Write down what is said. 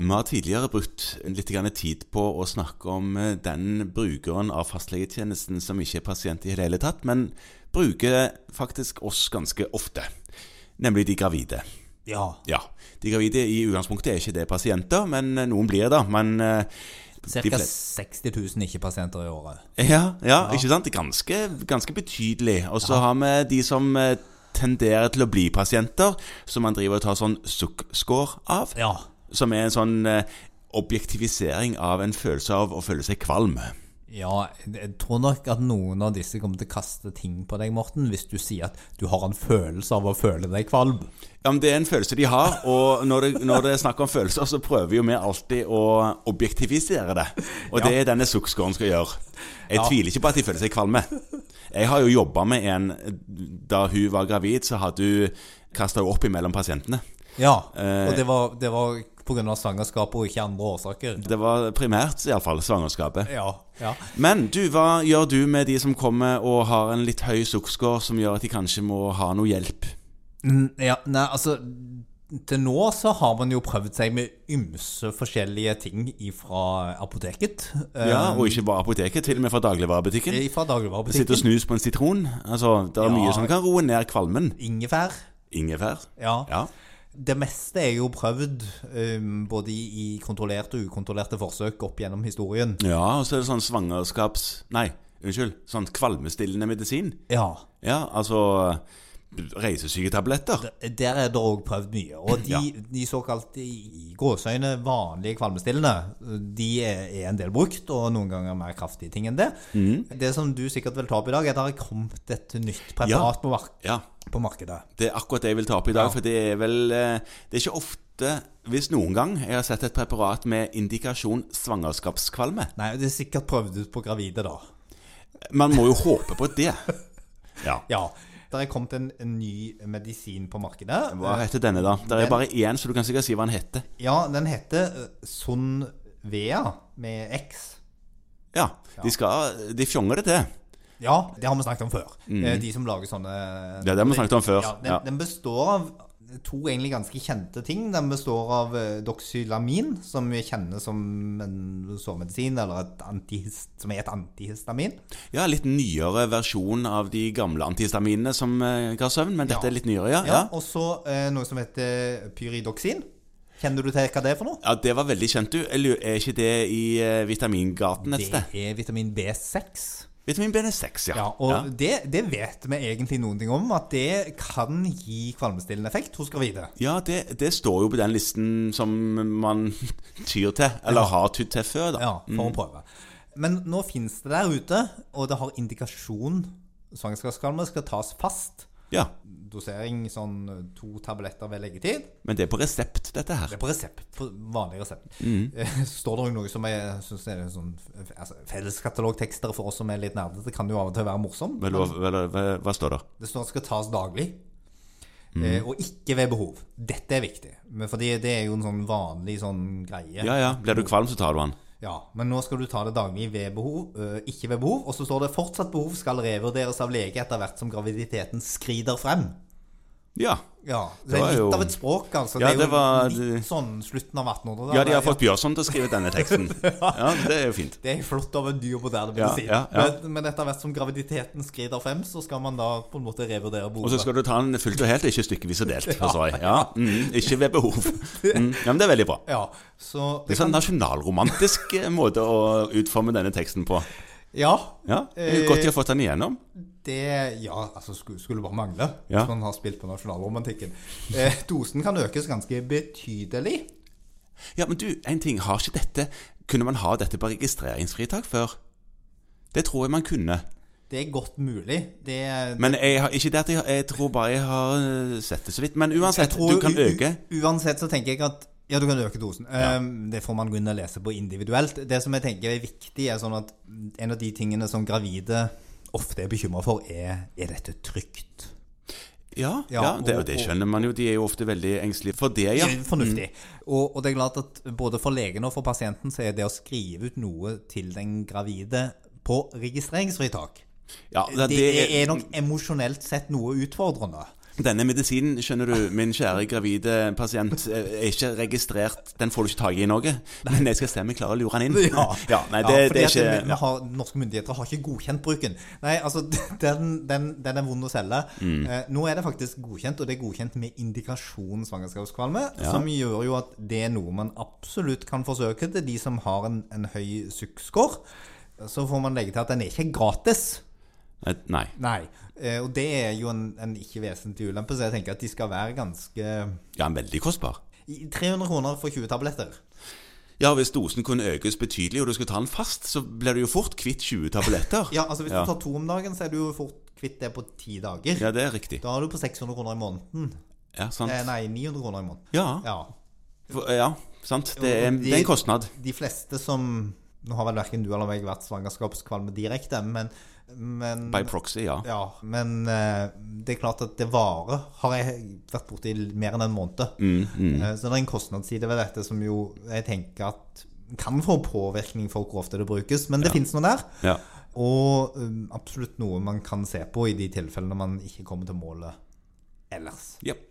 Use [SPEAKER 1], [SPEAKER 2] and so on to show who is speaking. [SPEAKER 1] Vi har tidligere brukt litt grann tid på å snakke om eh, den brukeren av fastlegetjenesten som ikke er pasient i det hele tatt, men bruker faktisk oss ganske ofte. Nemlig de gravide.
[SPEAKER 2] Ja.
[SPEAKER 1] Ja, de gravide i utgangspunktet er ikke det pasienter, men eh, noen blir det. Men eh, de
[SPEAKER 2] Ca.
[SPEAKER 1] fleste-
[SPEAKER 2] 60 000 ikke-pasienter i året.
[SPEAKER 1] ja, ja, ikke sant? Det er ganske, ganske betydelig. Og så har vi de som eh, tenderer til å bli pasienter, som man driver og tar sånn sukkscore av.
[SPEAKER 2] Ja.
[SPEAKER 1] Som er en sånn eh, objektivisering av en følelse av å føle seg kvalm.
[SPEAKER 2] Ja, jeg tror nok at noen av disse kommer til å kaste ting på deg, Morten, hvis du sier at du har en følelse av å føle deg kvalm.
[SPEAKER 1] Ja, men Det er en følelse de har, og når det, når det er snakk om følelser, så prøver jo vi alltid å objektivisere det. Og det er denne sukkscoren skal gjøre. Jeg tviler ikke på at de føler seg kvalme. Jeg har jo jobba med en Da hun var gravid, så hadde hun kasta opp imellom pasientene.
[SPEAKER 2] Ja,
[SPEAKER 1] Eh.
[SPEAKER 2] og det var, det var på grunn av svangerskapet og ikke andre årsaker.
[SPEAKER 1] Det var primært iallfall svangerskapet.
[SPEAKER 2] Ja, ja.
[SPEAKER 1] Men du, hva gjør du med de som kommer og har en litt høy sukkerskår som gjør at de kanskje må ha noe hjelp?
[SPEAKER 2] Mm, Ja, nei, altså Til nå så har man jo prøvd seg med ymse forskjellige ting fra apoteket. eh,
[SPEAKER 1] Ja, Og ikke bare apoteket, til og med fra dagligvarebutikken.
[SPEAKER 2] Fra
[SPEAKER 1] Sitte og
[SPEAKER 2] dagligvarebutikken.
[SPEAKER 1] snus på en sitron. Altså, Det er
[SPEAKER 2] Ja.
[SPEAKER 1] mye som kan roe ned kvalmen.
[SPEAKER 2] Ingefær.
[SPEAKER 1] Ingefær.
[SPEAKER 2] Ja.
[SPEAKER 1] Ja.
[SPEAKER 2] Det meste er jo prøvd, eh, både i i kontrollerte og ukontrollerte forsøk opp gjennom historien.
[SPEAKER 1] ja, og så er det sånn svangerskaps... Nei, unnskyld. Sånn kvalmestillende medisin.
[SPEAKER 2] Ja.
[SPEAKER 1] Ja, altså Reisesyketabletter.
[SPEAKER 2] Der er det òg prøvd mye. Og de,
[SPEAKER 1] Ja.
[SPEAKER 2] de såkalt i gåseøyne vanlige kvalmestillende, de er er en del brukt, og noen ganger mer kraftige ting enn det.
[SPEAKER 1] Mhm.
[SPEAKER 2] Det som du sikkert vil ta opp i dag, er at det har kommet et nytt
[SPEAKER 1] Ja.
[SPEAKER 2] preparat på, mark
[SPEAKER 1] Ja.
[SPEAKER 2] på markedet.
[SPEAKER 1] Det er akkurat det jeg vil ta opp i dag,
[SPEAKER 2] Ja.
[SPEAKER 1] for det er vel eh, Det er ikke ofte, hvis noen gang, jeg har sett et preparat med indikasjon svangerskapskvalme.
[SPEAKER 2] Nei, det er sikkert prøvd ut på gravide, da.
[SPEAKER 1] Man må jo håpe på det. Ja.
[SPEAKER 2] Ja. Det er kommet en, en ny medisin på markedet.
[SPEAKER 1] Hva heter denne, da? Det er bare én, så du kan sikkert si hva den heter.
[SPEAKER 2] Ja, den heter eh, Sonvea med X.
[SPEAKER 1] Ja, de skal De fjonger det til.
[SPEAKER 2] Ja, det har vi snakket om før. Eh, De som lager sånne
[SPEAKER 1] Ja, det har vi snakket om før.
[SPEAKER 2] Ja, den,
[SPEAKER 1] Ja.
[SPEAKER 2] den består av to egentlig ganske kjente ting. Den består av eh, doxylamin, som vi kjenner som en sovemedisin, eller et antihist, som er et antihistamin.
[SPEAKER 1] Ja, litt nyere versjon av de gamle antihistaminene som eh, ga søvn, men dette
[SPEAKER 2] Ja.
[SPEAKER 1] er litt nyere, ja.
[SPEAKER 2] Ja,
[SPEAKER 1] ja.
[SPEAKER 2] Og så eh, noe som heter pyridoxin. Kjenner du til hva det er for noe?
[SPEAKER 1] Ja, Det var veldig kjent, du. Jeg lurer- Er ikke det i eh, Vitamingaten et
[SPEAKER 2] Det
[SPEAKER 1] sted?
[SPEAKER 2] er vitamin B6.
[SPEAKER 1] Vitamin B6, ja.
[SPEAKER 2] Ja, og Det, det vet vi egentlig noen ting om, at det kan gi kvalmestillende effekt hos gravide.
[SPEAKER 1] Ja, det, det står jo på den listen som man tyr til, eller har tydd til før, da.
[SPEAKER 2] Ja, for å prøve. Men nå finnes det der ute, og det har indikasjon. Svangerskapskvalme skal tas fast.
[SPEAKER 1] Ja,
[SPEAKER 2] Dosering sånn to tabletter ved leggetid.
[SPEAKER 1] Men det er på resept, dette her.
[SPEAKER 2] Det er på resept. På vanlig resept. Står det jo noe som jeg syns er en sånn altså, Felleskatalogtekster for oss som er litt nerdete, kan jo av og til være morsom.
[SPEAKER 1] Vel, hva, vel, hva, hva står det?
[SPEAKER 2] Det står at det skal tas daglig.
[SPEAKER 1] Mm.
[SPEAKER 2] eh, Og ikke ved behov. Dette er viktig. Men fordi det er jo en sånn vanlig sånn greie.
[SPEAKER 1] Ja ja, blir du kvalm, så tar du den.
[SPEAKER 2] Ja, men nå skal du ta det daglig ved behov, øh, ikke ved behov. Og så står det 'fortsatt behov skal revurderes av lege etter hvert som graviditeten skrider frem'.
[SPEAKER 1] Ja.
[SPEAKER 2] Ja, Det,
[SPEAKER 1] var
[SPEAKER 2] er litt
[SPEAKER 1] jo-
[SPEAKER 2] av et språk, altså.
[SPEAKER 1] Ja,
[SPEAKER 2] det er jo
[SPEAKER 1] det var-
[SPEAKER 2] litt sånn slutten av 1800-tallet.
[SPEAKER 1] ja, de har fått Bjørson til å skrive denne teksten. Ja, Det er jo fint.
[SPEAKER 2] Det er flott av en ny og moderne
[SPEAKER 1] Ja,
[SPEAKER 2] medisin.
[SPEAKER 1] ja, ja.
[SPEAKER 2] Men, men etter hvert som graviditeten skrider frem, så skal man da på en måte revurdere
[SPEAKER 1] Og så
[SPEAKER 2] behovet.
[SPEAKER 1] skal du ta den fullt og helt, ikke stykkevis og delt. forstår jeg. Ja, mm, Ikke ved behov. Mm, ja, Men det er veldig bra.
[SPEAKER 2] Ja, så
[SPEAKER 1] Det er en sånn nasjonalromantisk eh, måte å utforme denne teksten på.
[SPEAKER 2] Ja.
[SPEAKER 1] Ja, det er Godt de har fått den igjennom.
[SPEAKER 2] Det Ja, altså skulle, skulle bare mangle
[SPEAKER 1] Ja.
[SPEAKER 2] hvis man har spilt på nasjonalromantikken. Eh, dosen kan økes ganske betydelig.
[SPEAKER 1] Ja, men du, en ting, har ikke dette Kunne man ha dette på registreringsfritak før? Det tror jeg man kunne.
[SPEAKER 2] Det er godt mulig. Det
[SPEAKER 1] Men jeg har, ikke det at jeg, jeg tror bare jeg har øh, sett det så vidt. Men uansett,
[SPEAKER 2] tror-
[SPEAKER 1] du kan
[SPEAKER 2] u- u-
[SPEAKER 1] øke.
[SPEAKER 2] Uansett så tenker jeg at ja, du kan øke dosen. Ehm, Det får man gå inn og lese på individuelt. Det som jeg tenker er viktig, er sånn at en av de tingene som gravide ofte er bekymra for, er er dette trygt.
[SPEAKER 1] Ja, ja,
[SPEAKER 2] Ja,
[SPEAKER 1] det,
[SPEAKER 2] og-
[SPEAKER 1] og det skjønner man jo. De er jo ofte veldig engstelige for det, ja. Mm.
[SPEAKER 2] Fornuftig. Og, og det er klart at både for legen og for pasienten så er det å skrive ut noe til den gravide på registreringsfritak
[SPEAKER 1] ja
[SPEAKER 2] det, er, er nok emosjonelt sett noe utfordrende.
[SPEAKER 1] Denne medisinen, skjønner du, min kjære gravide pasient, eh, er ikke registrert. Den får du ikke tak i i Norge. Men jeg skal se om jeg klarer å lure den inn. nei, det,
[SPEAKER 2] fordi
[SPEAKER 1] det
[SPEAKER 2] at
[SPEAKER 1] er ikke
[SPEAKER 2] vi- vi har, Norske myndigheter har ikke godkjent bruken. Nei, altså, Den, den, den er vond å selge.
[SPEAKER 1] Mm.
[SPEAKER 2] Eh, nå er det faktisk godkjent, og det er godkjent med indikasjon svangerskapskvalme,
[SPEAKER 1] Ja.
[SPEAKER 2] som gjør jo at det er noe man absolutt kan forsøke til de som har en, en høy SUK-score. Så får man legge til at den er ikke gratis.
[SPEAKER 1] Nei, Nei.
[SPEAKER 2] Nei. Eh, og det er jo en, en ikke vesentlig ulempe, så jeg tenker at de skal være ganske
[SPEAKER 1] Ja, den er veldig kostbar.
[SPEAKER 2] i- 300 kroner for 20 tabletter.
[SPEAKER 1] Ja, hvis dosen kunne økes betydelig, og du skulle ta den fast, så blir du jo fort kvitt 20 tabletter.
[SPEAKER 2] Ja, altså Hvis
[SPEAKER 1] Ja.
[SPEAKER 2] du tar to om dagen, så er du jo fort kvitt det på ti dager.
[SPEAKER 1] Ja, det er riktig.
[SPEAKER 2] Da er du på 600 kroner i måneden.
[SPEAKER 1] Ja, sant.
[SPEAKER 2] Eh, nei, 900 kroner i måneden.
[SPEAKER 1] Ja,
[SPEAKER 2] Ja.
[SPEAKER 1] for- ja sant. Det er, det er en kostnad.
[SPEAKER 2] De fleste som Nå har vel verken du eller meg vært svangerskapskvalme direkte, men, men
[SPEAKER 1] By proxy, ja.
[SPEAKER 2] ja, men eh, det er klart at det varer. Har jeg vært borte i mer enn en måned.
[SPEAKER 1] Mm,
[SPEAKER 2] Eh, Så det er en kostnadsside ved dette som jo jeg tenker at kan få påvirkning for hvor ofte det brukes. Men det finnes noe der.
[SPEAKER 1] ja.
[SPEAKER 2] Og um, absolutt noe man kan se på i de tilfellene man ikke kommer til målet ellers.
[SPEAKER 1] Jep.